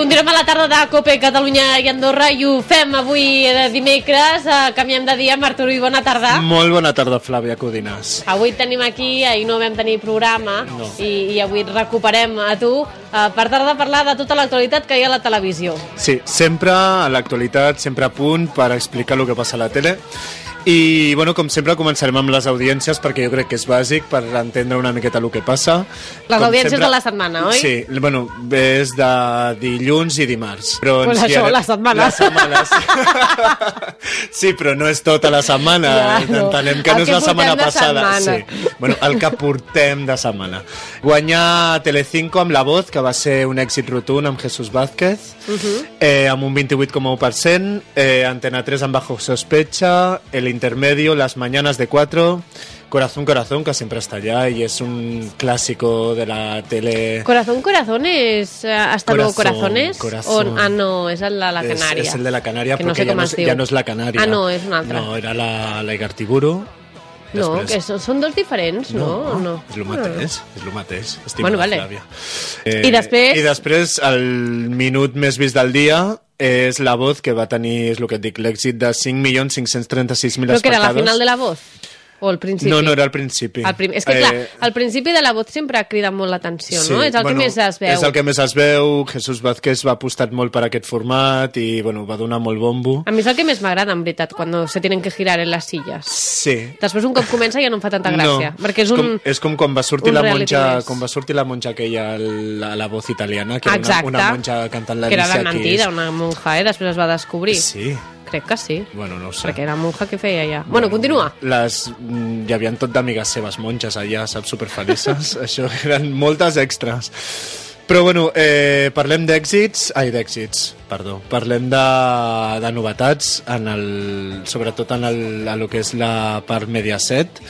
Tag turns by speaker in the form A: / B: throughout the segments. A: Programa a la tarda de COPE Catalunya i Andorra i ho fem avui eh, dimecres, eh, canviem de dia, Marc Turull, bona tarda.
B: Molt bona tarda, Flàvia Codines.
A: Avui et tenim aquí, ahir no vam tenir programa no. i, i avui et recuperem a tu eh, per tal de parlar de tota l'actualitat que hi ha a la televisió.
B: Sí, sempre a l'actualitat, sempre a punt per explicar el que passa a la tele. I, bueno, com sempre, començarem amb les audiències perquè jo crec que és bàsic per entendre una miqueta el que passa.
A: Les
B: Com
A: audiències de la setmana, oi?
B: Sí, bueno, és de dilluns i dimarts. Però
A: Pues
B: ens
A: això,
B: guiarem-
A: les setmanes.
B: Les setmanes. sí, però no és tota la setmana.
A: Ja, no.
B: Entenem que
A: El
B: no és
A: que
B: la setmana
A: portem de
B: passada.
A: setmana.
B: Sí. Bueno, el que portem de setmana. Guanyar Telecinco amb La Voz, que va ser un èxit rotund amb Jesús Vázquez, uh -huh.
A: Mhm.
B: eh, amb un 28,1%, eh, Antena 3 amb Bajo Sospecha, El Intermedio, Las Mañanas de 4, Corazón Corazón, que sempre està allà i és un clàssico de la tele...
A: Corazón, corazones, eh, hasta luego
B: Corazón,
A: corazones. O,
B: corazón.
A: ah, no, és el de la
B: És-
A: Canària.
B: És, el de la Canària,
A: que
B: però
A: no sé
B: que ja,
A: com
B: no,
A: es
B: és-
A: diu.
B: ja no és la Canària.
A: Ah, no, és una altra.
B: No, era la, la Igartiburu.
A: no
B: Després-
A: que són, són dos diferents, no? O no? Ah.
B: És el mateix, és el mateix. Estima
A: Bueno,
B: bueno,
A: vale.
B: vale. Flàvia. Eh,
A: I després-
B: I després, el minut més vist del dia és la voz que va tenir, és el que et dic, l'èxit de 5.536.000
A: Però
B: espectadors.
A: que era la final de la voz? O el principi?
B: No, no, era al principi.
A: Al prim... És que, clar,
B: Eh.
A: al principi de la voz sempre crida molt l'atenció, no? És el que més es veu.
B: És el que més es veu, Jesús Vázquez va apostat molt per aquest format i, bueno, va donar molt bombo.
A: A mi és el que més m'agrada, en veritat, quan se tienen que girar en les sillas.
B: Sí,
A: Després, un cop comença, ja no em fa tanta gràcia.
B: No,
A: Perquè és un...
B: com, és com quan va sortir
A: un
B: la
A: reality
B: monja,
A: més.
B: com va sortir la monja aquella la, la voz italiana, que era
A: Exacte.
B: una, una monja cantant la
A: que era
B: Alicia
A: de
B: Keys.
A: mentida, una monja, eh? Després es va descobrir.
B: Sí,
A: Crec que sí.
B: bueno, no ho sé.
A: Perquè era monja que feia ja. Bueno, continua.
B: Les, mm, hi havia tot d'amigues seves monges allà, saps, superfelices. Això eren moltes extres. Però, bueno, eh, parlem d'èxits... Ai, d'èxits, perdó. Parlem de, de novetats, en el, sobretot en el, a lo que és la part Mediaset.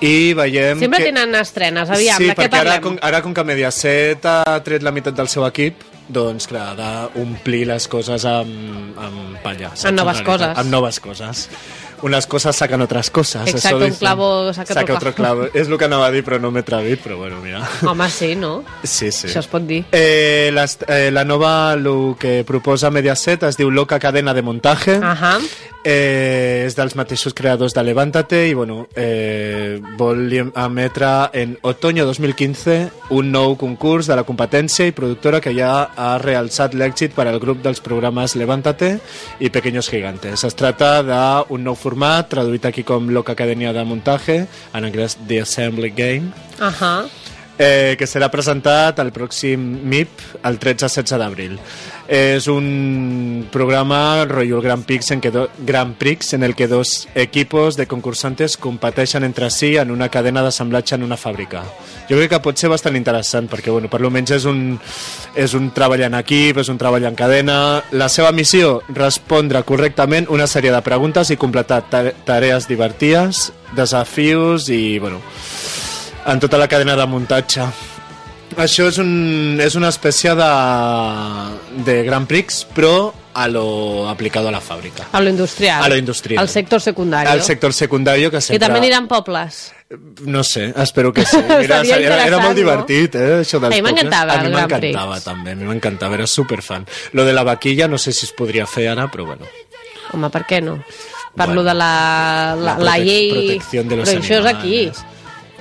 B: I veiem
A: Sempre
B: que...
A: tenen estrenes, aviam,
B: sí,
A: de què
B: perquè ara
A: parlem?
B: com, ara com que Mediaset ha tret la meitat del seu equip, doncs clar, ha d'omplir les coses amb, amb palla. saps?
A: Amb noves
B: En realitat,
A: coses.
B: Amb noves coses. Unes coses saquen otras cosas.
A: Exacte,
B: això
A: un
B: dicen.
A: clavo saca otro
B: otro clavo. És el que anava a dir, però no m'he atrevit, però bueno, mira.
A: Home, sí, no?
B: Sí, sí.
A: Això es pot dir.
B: Eh, les, eh, la nova, el que proposa Mediaset es diu Loca Cadena de Montaje.
A: Ahà.
B: Eh, és dels mateixos creadors de Levántate i bueno, eh, vol emetre en otoño 2015 un nou concurs de la competència i productora que ja ha realçat l'èxit per al grup dels programes Levántate i Pequeños Gigantes. Es trata d'un nou format traduït aquí com Loca Academia de Montaje, en anglès The Assembly Game,
A: Ahà.
B: eh, que serà presentat al pròxim MIP el 13-16 d'abril. És un programa rotllo el Grand Prix, en que do, Grand Prix en el que dos equipos de concursantes competeixen entre si en una cadena d'assemblatge en una fàbrica. Jo crec que pot ser bastant interessant perquè, bueno, per almenys és un, és un treball en equip, és un treball en cadena. La seva missió, respondre correctament una sèrie de preguntes i completar ta- tarees divertides, desafios i, bueno, en tota la cadena de muntatge. Això és, un, és una espècie de, de Grand Prix, però a lo aplicado a la fàbrica.
A: A lo industrial.
B: A lo industrial.
A: Al sector secundari.
B: Al sector secundari que sempre...
A: I també aniran pobles.
B: No sé, espero que sí. Mira,
A: Seria
B: era, era
A: interessant,
B: molt
A: no?
B: divertit, eh, això dels
A: A mi m'encantava,
B: pobles. A
A: el
B: mi
A: Grand
B: m'encantava,
A: Prix.
B: també, a mi m'encantava, era superfan. Lo de la vaquilla no sé si es podria fer ara, però bueno.
A: Home, per què no? Parlo
B: Bueno,
A: de la, la,
B: la
A: la
B: protec-
A: llei...
B: protecció de los
A: Però això és aquí,
B: animales.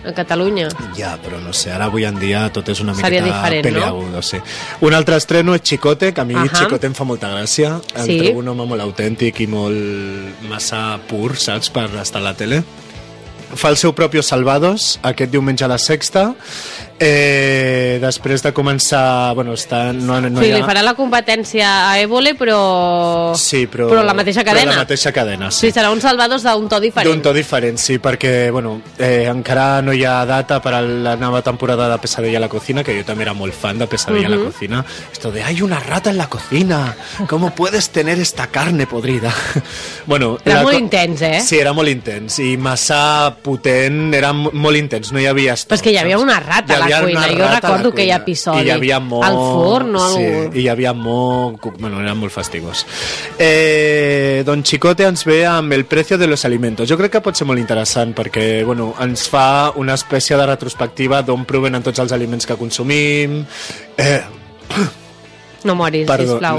A: a Catalunya.
B: Ja, però no sé, ara avui en dia tot és una
A: Seria
B: miqueta
A: diferent, no?
B: peleagudo, no? sí. Un altre estreno és Chicote, que a mi
A: Ahà.
B: Chicote em fa molta gràcia. El
A: Sí.
B: trobo un home molt autèntic i molt massa pur, saps, per estar a la tele. Fa el seu propi Salvados, aquest diumenge a la sexta. Eh, després de començar... Bueno, està, no, no
A: No sí,
B: hi ha...
A: li farà la competència a Évole, però...
B: Sí, però...
A: Però la mateixa cadena.
B: Però la mateixa cadena, sí.
A: Sí, serà un salvados d'un to diferent.
B: D'un to diferent, sí, perquè bueno, eh, encara no hi ha data per a la nova temporada de Pesadilla a la cocina, que jo també era molt fan de Pesadilla
A: Mhm.
B: a la cocina. Esto de, hay una rata en la cocina, ¿cómo puedes tener esta carne podrida? bueno,
A: Era
B: la
A: molt
B: co-
A: intens, eh?
B: Sí, era molt intens i massa potent, era mo- molt intens, no hi havia estoc.
A: Però és que hi havia
B: saps?
A: una rata
B: Hi
A: a la
B: havia una
A: cuina, jo
B: rata a la
A: recordo aquell
B: cuina.
A: episodi.
B: I hi havia molt...
A: Al forn o algú.
B: Sí, i hi havia molt... cu- Bueno, eren molt fastigos. Eh, don Chicote ens ve amb el precio de los alimentos. Jo crec que pot ser molt interessant perquè, bueno, ens fa una espècie de retrospectiva d'on provenen tots els aliments que consumim, eh,
A: No moris,
B: Perdó.
A: sisplau.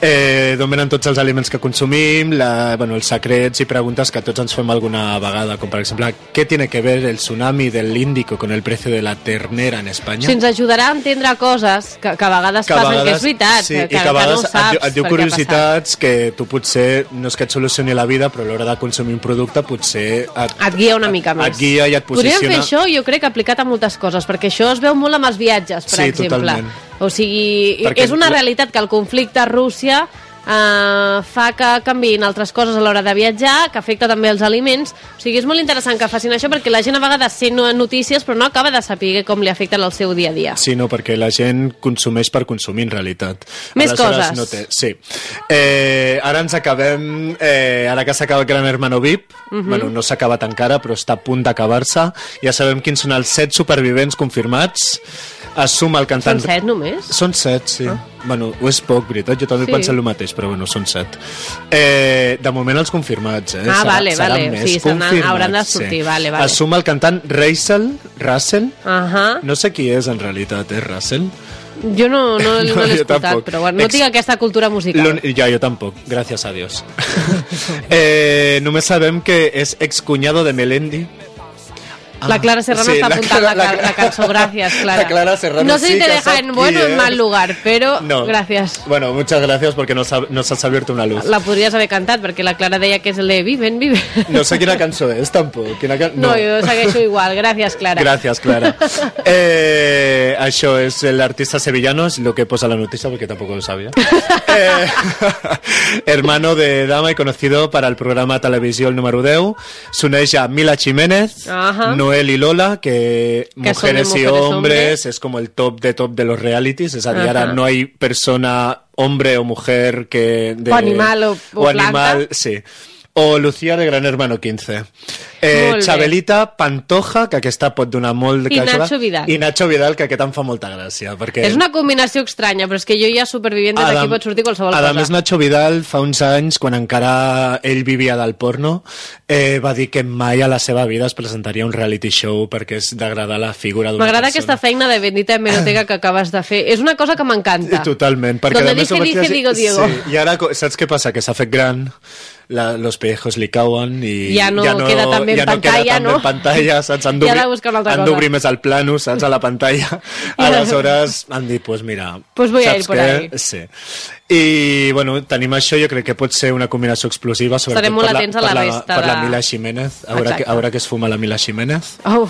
B: eh, d'on venen tots els aliments que consumim, la, bueno, els secrets i preguntes que tots ens fem alguna vegada, com per exemple, què tiene que ver el tsunami del Índico con el precio de la ternera en Espanya?
A: Si ens ajudarà a entendre coses que, que a vegades
B: a
A: passen, que és veritat,
B: sí,
A: que,
B: i
A: que,
B: que, a
A: no
B: vegades
A: saps
B: et, diu- et diu
A: per què ha passat.
B: curiositats que tu potser no és que et solucioni la vida, però a l'hora de consumir un producte potser et,
A: Et guia una mica més.
B: et guia i et
A: Podríem fer
B: posiciona.
A: això, jo crec, aplicat a moltes coses, perquè això es veu molt amb els viatges, per
B: Sí,
A: exemple.
B: totalment.
A: O sigui,
B: Perquè-
A: és una realitat que el conflicte a Rússia eh, fa que canviïn altres coses a l'hora de viatjar, que afecta també els aliments. O sigui, és molt interessant que facin això perquè la gent a vegades sent notícies però no acaba de saber com li afecten el seu dia a dia.
B: Sí, no, perquè la gent consumeix per consumir, en realitat.
A: Més
B: Aleshores,
A: coses.
B: No té... Sí. Eh, ara ens acabem... Eh, ara que s'acaba el Gran Hermano VIP,
A: Mhm.
B: bueno, no s'ha acabat encara, però està a punt d'acabar-se, ja sabem quins són els set supervivents confirmats. Es suma el
A: Són
B: cantant...
A: set només?
B: Són set, sí. Ah. Bueno, ho és poc, veritat. Jo també
A: Sí.
B: sí. penso el mateix, però bueno, són set. Eh, de moment els confirmats, eh?
A: Ah, vale,
B: seran
A: vale.
B: Més,
A: Sí, se n'han-
B: confirmats,
A: hauran de sortir, vale, vale.
B: Es suma el cantant Russell, Russell,
A: Ahà.
B: no sé qui és en realitat, eh, Russell?
A: Jo no, no, no,
B: No,
A: l'he
B: jo
A: escoltat,
B: tampoc.
A: però bueno, no
B: Ex-
A: tinc aquesta cultura musical.
B: L'un- Ja, jo tampoc, gràcies a Dios. eh, només sabem que és excunyado de Melendi.
A: La Clara Serrano
B: Ah, sí,
A: está
B: la
A: apuntando la,
B: Clara-
A: ca-
B: la-
A: la canción. Gracias, Clara.
B: La Clara Serrano
A: No sé si
B: sí
A: te
B: que
A: deja
B: está
A: en
B: aquí,
A: bueno o en
B: ¿eh?
A: mal lugar, pero Oh, gracias.
B: Bueno, muchas gracias porque nos, ha- nos has abierto una luz.
A: La podries haver cantat, perquè la Clara deia que és el de Viven, Viven.
B: No sé quina cançó és, tampoc. Quina can...
A: No, jo segueixo igual. Gràcies, Clara.
B: Gràcies, Clara. Eh, això és l'artista sevillano, és lo que posa la notícia, porque tampoco lo sabía. Eh, hermano de Dama y conocido para el programa Televisión el número 10. S'uneix a Mila Jiménez,
A: Ajá.
B: Noel y Lola, que,
A: Que son de
B: mujeres y
A: Mujeres
B: hombres,
A: Hombres.
B: es como el top de top de los realities. Es decir,
A: Ajá.
B: ahora no hay persona, hombre o mujer que... De,
A: O animal o- o planta.
B: animal, sí. O Lucía de Gran Hermano 15.
A: Molt
B: Eh,
A: bé.
B: Chabelita Pantoja, que aquesta pot donar molt de
A: I
B: caixa.
A: Nacho Vidal.
B: I Nacho Vidal, que aquest em fa molta gràcia. Perquè
A: És una combinació estranya, però és que jo ja supervivientes d'aquí pot sortir qualsevol
B: a
A: cosa.
B: més, Nacho Vidal fa uns anys, quan encara ell vivia del porno, eh, va dir que mai a la seva vida es presentaria un reality show perquè és degradar la figura d'una persona.
A: M'agrada aquesta feina de bendita hemeroteca que acabes de fer. És una cosa que m'encanta.
B: Totalment, perquè
A: Donde
B: a més...
A: dije,
B: ho vaig
A: dije,
B: llegir-
A: digo, Diego.
B: Sí, I ara, co- saps què passa? Que s'ha fet gran, la, los pellejos li cauen i
A: Ja no queda tan bé en
B: ja no
A: pantalla,
B: queda tan bé
A: no?
B: en pantalla, saps? Han d'obrir-
A: Ja ha de buscar una altra
B: han
A: cosa.
B: d'obrir més el plano, saps? A la pantalla. Aleshores han dit, pues mira,
A: Pues voy a
B: saps
A: ir por
B: què?
A: ahí.
B: Sí. I, bueno, tenim això, jo crec que pot ser una combinació explosiva, sobretot
A: Estarem molt
B: per, la,
A: atents a la
B: per, la,
A: resta
B: per la
A: de-
B: Mila Jiménez, a veure,
A: Exacte.
B: que, a veure que es fuma la Mila Jiménez.
A: Oh.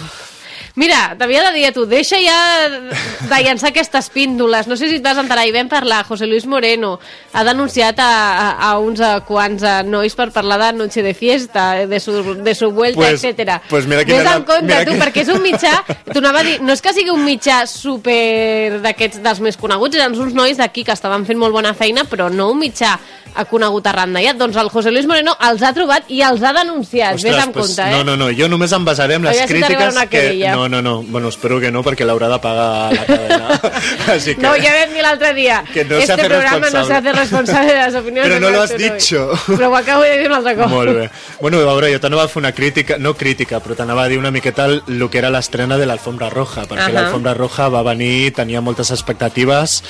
A: Mira, t'havia de dir a tu, deixa ja de llançar aquestes píndoles. No sé si et vas enterar, hi vam parlar, José Luis Moreno ha denunciat a, a, a uns eh, quants eh, nois per parlar de noche de fiesta, eh, de su, de su vuelta,
B: Pues-
A: etc.
B: pues mira quina
A: Vés
B: és la-
A: amb compte,
B: mira
A: tu,
B: que-
A: perquè és un mitjà, t'anava a dir, no és que sigui un mitjà super d'aquests dels més coneguts, eren uns nois d'aquí que estaven fent molt bona feina, però no un mitjà ha conegut arran d'allà. Doncs el José Luis Moreno els ha trobat i els ha denunciat. Vés amb
B: pues,
A: compte, eh?
B: no, no, no, jo només em basaré en les
A: Aviam si t'arribarà
B: crítiques
A: una
B: que...
A: querella.
B: No, no, no, bueno, espero que no, perquè l'haurà de pagar la cadena. Així que...
A: No, ya ves ni el otro día.
B: Que no se
A: este
B: hace
A: programa no se
B: responsable.
A: hace responsable de las opiniones.
B: Pero
A: de
B: no lo has
A: Nacho Noy.
B: dicho.
A: Pero ho acabo de decir una altra cosa.
B: Molt bé. Bueno, a veure, jo t'anava a fer una crítica, no crítica, però t'anava a dir una miqueta el, el que era l'estrena de l'Alfombra Roja, perquè
A: Ahà.
B: l'Alfombra Roja va venir, tenia moltes expectatives,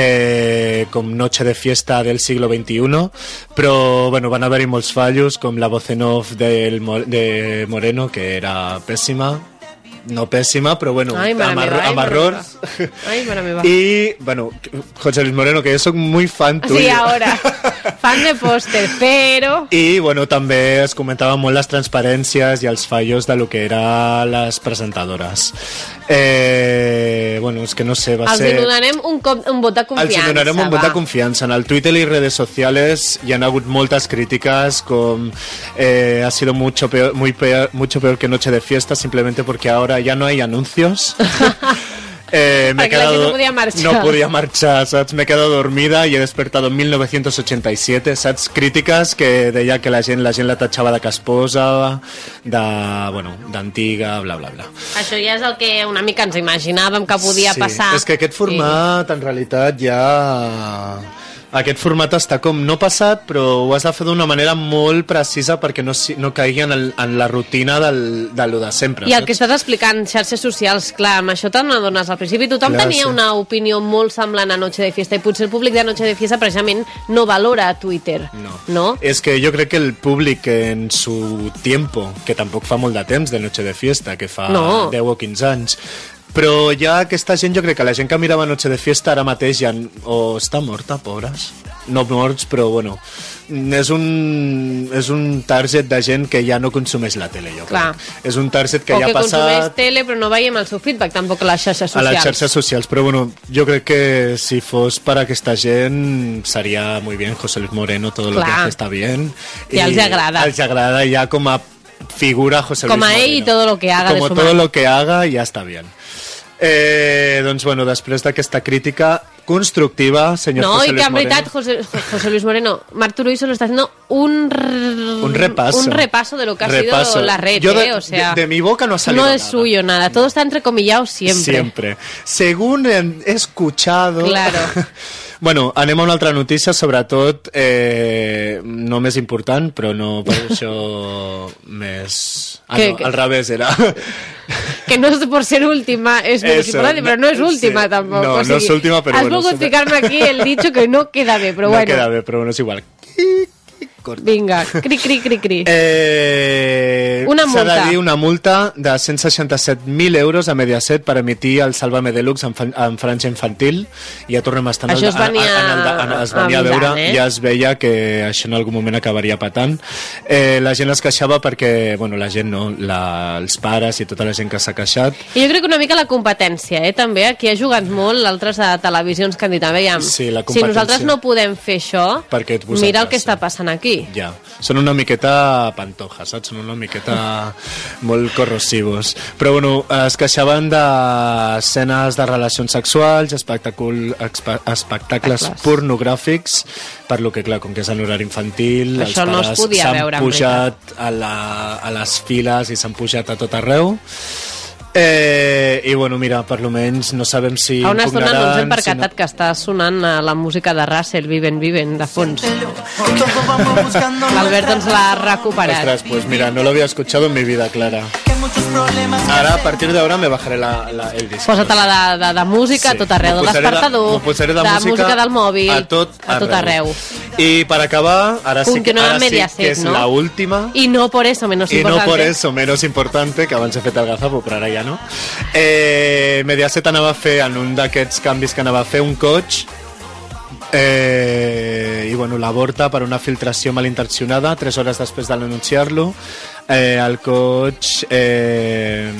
B: eh, com Noche de Fiesta del siglo XXI, però bueno, van haver-hi molts fallos, com la voz en off del, Mo- de Moreno, que era pèssima, no pèssima, però bueno,
A: Ay, mare
B: amb,
A: meva,
B: erro-
A: ay,
B: amb
A: mare meva.
B: errors.
A: Ay, mare meva.
B: I, bueno, José Luis Moreno, que jo soc muy fan tuyo.
A: Ah, Sí, ahora. Fan de póster, pero...
B: I, bueno, també es comentava molt les transparències i els fallos de lo que eren les presentadores. Eh, bueno, és que no sé, va
A: Els hi
B: ser...
A: donarem un, cop, un vot de confiança.
B: Els hi donarem un vot de
A: va.
B: confiança. En el Twitter i redes sociales hi han hagut moltes crítiques com eh, ha sido mucho peor, muy peor, mucho peor que Noche de Fiesta simplemente porque ahora ya no hay anuncios. Eh, me he
A: Perquè la
B: quedado-
A: gent no podia marxar.
B: No podia marxar, saps? Me he quedado dormida y he despertado en 1987, saps? Crítiques que deia que la gent la, gent la tachava de casposa, de, bueno, d'antiga, bla, bla, bla.
A: Això ja és el que una mica ens imaginàvem que podia
B: sí.
A: passar.
B: És que aquest format, en realitat, ja... Aquest format està com no passat, però ho has de fer d'una manera molt precisa perquè no, si- no caigui en, el, en la rutina del, de lo de sempre.
A: I el que
B: saps?
A: estàs explicant, xarxes socials, clar, amb això te n'adones al principi. Tothom
B: Clar,
A: tenia
B: sí.
A: una opinió molt semblant a Noche de Fiesta i potser el públic de Noche de Fiesta precisament no valora Twitter,
B: No.
A: no?
B: Es que yo creo que el públic en su tiempo, que tampoco fa molt de temps de Noche de Fiesta, que fa
A: No.
B: 10 o 15 anys, però ja aquesta gent, jo crec que la gent que mirava Noche de Fiesta ara mateix ja n- o està morta, pobres, no morts, però bueno, mm, és un, és un target de gent que ja no consumeix la tele, jo
A: Clar.
B: crec. És un target que
A: o
B: ja
A: que
B: ha
A: consumeix
B: passat
A: tele però no veiem el seu feedback tampoc a les xarxes
B: a
A: socials.
B: les xarxes socials, però bueno, jo crec que si fos per aquesta gent seria muy bien José Luis Moreno, todo lo que
A: Clar.
B: hace está bien.
A: Ja els agrada.
B: Els agrada ja com a figura José
A: Com
B: Luis
A: a
B: Moreno.
A: ell i todo lo que haga de
B: Como
A: su
B: todo
A: mano.
B: lo que haga ja està bien. Eh, doncs bueno, després d'aquesta crítica constructiva, senyor
A: No,
B: José
A: i
B: Luis
A: que en
B: Moreno...
A: veritat José, Jo- José Luis Moreno, Marc Turull solo está haciendo un, r-
B: Un repaso.
A: un repaso de lo que ha
B: Repaso.
A: sido la red,
B: Yo de-
A: eh, o sea,
B: de- de mi boca no ha salido
A: No es
B: nada.
A: suyo nada, todo está entrecomillado siempre.
B: Siempre. Según he escuchado...
A: Claro.
B: bueno, anem a una altra notícia, sobretot eh, no més important, però no per això més... Ah,
A: Que-
B: no,
A: que-
B: al revés era.
A: Que no es por ser última, es muy
B: Eso,
A: importante, pero no es
B: no-
A: última
B: sí.
A: tampoco.
B: No,
A: o
B: no
A: sea
B: es
A: que
B: última, pero
A: Has
B: bueno,
A: poco
B: sí.
A: explicarme aquí el dicho que no queda bien, pero
B: no
A: bueno.
B: queda bé, però bueno, és igual. Corta.
A: Vinga, cri, cri, cri, cri.
B: Eh,
A: Una
B: S'ha
A: multa.
B: de dir una multa de 167.000 euros a Mediaset per emitir el Sálvame Deluxe en, fan, en França infantil. I ja tornem a estar... en el-
A: Això es venia
B: en el- en- en- es
A: a
B: venia a,
A: Milà,
B: veure,
A: eh?
B: ja es veia que això en algun moment acabaria patant. Eh, la gent es queixava perquè, bueno, la gent no, la, els pares i tota la gent que s'ha queixat.
A: I jo crec que una mica la competència, eh, també. Aquí ha jugat molt altres de televisions que han dit, a veure,
B: Sí, la
A: si
B: competència.
A: nosaltres no podem fer això,
B: Per què vosaltres,
A: mira el que
B: sí.
A: està passant aquí.
B: Ja, són una miqueta pantoja, saps? Són una miqueta molt corrosivos. Però, bueno, es queixaven d'escenes de relacions sexuals, espectacul, expe,
A: Espectacles.
B: espectacles pornogràfics, per lo que, clar, com que és en horari infantil,
A: Això
B: els
A: no es
B: pares
A: podia
B: s'han
A: veure, en
B: pujat a, la, a les files i s'han pujat a tot arreu. Eh, I, bueno, mira, per lo menys no sabem si...
A: Fa una estona no ens hem
B: impugnaran, si
A: percatat que està sonant eh, la música de Russell, Viven, Viven, de fons.
C: Todos vamos buscando
A: L'Albert ens l'ha
B: Ostras,
A: recuperat.
B: pues mira, no lo había escuchado en mi vida, Clara.
C: que muchos problemas.
B: Ahora, a partir de ahora, me bajaré la, la- el disco.
A: Posa-te-la de, de, de música a
B: Sí.
A: tot arreu,
B: M'ho
A: de
B: posaré
A: l'espertador,
B: m'ho posaré de, música,
A: del mòbil,
B: a tot,
A: a tot arreu.
B: I per acabar, ara sí, que-
A: Continuem
B: ara
A: amb
B: sí
A: Mediaset,
B: que és
A: no?
B: la última.
A: I no por eso, menos
B: I no
A: importante.
B: por eso, menos importante, que abans he fet el gazapo, però ara ja no. Eh, Mediaset anava a fer, en un d'aquests canvis que anava a fer, un coach Eh, I bueno, l'avorta per una filtració malintencionada, tres hores després de l'anunciar-lo. Eh, el coach... Eh,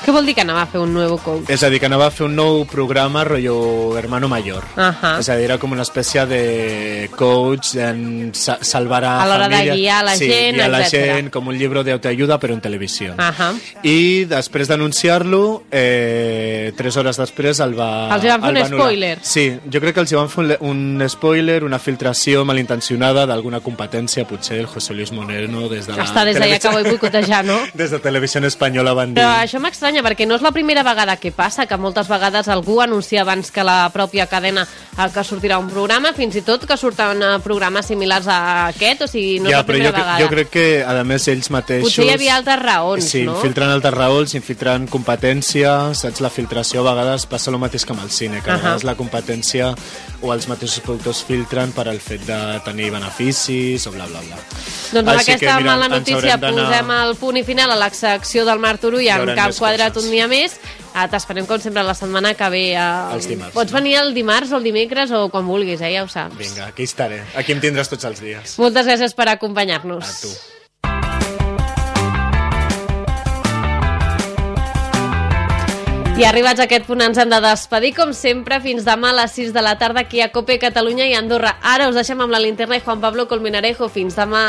A: Què vol dir que anava a fer un nou coach?
B: És a dir, que anava a fer un nou programa rotllo hermano mayor.
A: Ahà.
B: És a dir, era com una espècie de coach en sa salvar a,
A: A l'hora de
B: família.
A: guiar la
B: sí,
A: gent,
B: guiar la
A: etcètera. Ah.
B: gent, com un llibre d'autoajuda, però en televisió.
A: Ahà.
B: I després d'anunciar-lo, eh, tres hores després el va...
A: Els hi van fer
B: el
A: un
B: anul·lar.
A: spoiler.
B: Sí, jo crec que els hi van fer un, un spoiler, una filtració malintencionada d'alguna competència, potser el José Luis Moreno des de la...
A: Està des d'allà que
B: televisió-
A: vull boicotejar, no?
B: Des de Televisió Espanyola van dir...
A: Però això m'estranya, perquè no és la primera vegada que passa, que moltes vegades algú anuncia abans que la pròpia cadena eh, que sortirà un programa, fins i tot que surten eh, programes similars a aquest, o sigui, no és la
B: jo,
A: primera
B: cre-
A: vegada.
B: jo crec que, a més, ells mateixos...
A: Potser hi havia altres raons,
B: sí,
A: no?
B: infiltren altres raons, infiltren competència, saps? La filtració a vegades passa el mateix que amb el cine, que a
A: Ahà.
B: vegades la competència o els mateixos productors filtren per al fet de tenir beneficis o bla, bla, bla.
A: Doncs amb
B: Així que,
A: aquesta
B: mira,
A: mala
B: ens
A: notícia
B: haurem d'anar-
A: posem el punt i final a la secció del Marc Turull
B: Hi
A: amb
B: haurà
A: cap
B: més
A: quadrat
B: coses.
A: un dia més. Ah, T'esperem, com sempre, la setmana que ve. Eh...
B: Els dimarts,
A: Pots
B: no?
A: venir el dimarts o el dimecres o quan vulguis, eh? ja ho saps.
B: Vinga, aquí estaré. Aquí em tindràs tots els dies.
A: Moltes gràcies per acompanyar-nos.
B: A tu.
A: I arribats a aquest punt ens hem de despedir, com sempre, fins demà a les 6 de la tarda aquí a COPE Catalunya i Andorra. Ara us deixem amb la linterna i Juan Pablo Colmenarejo. Fins demà.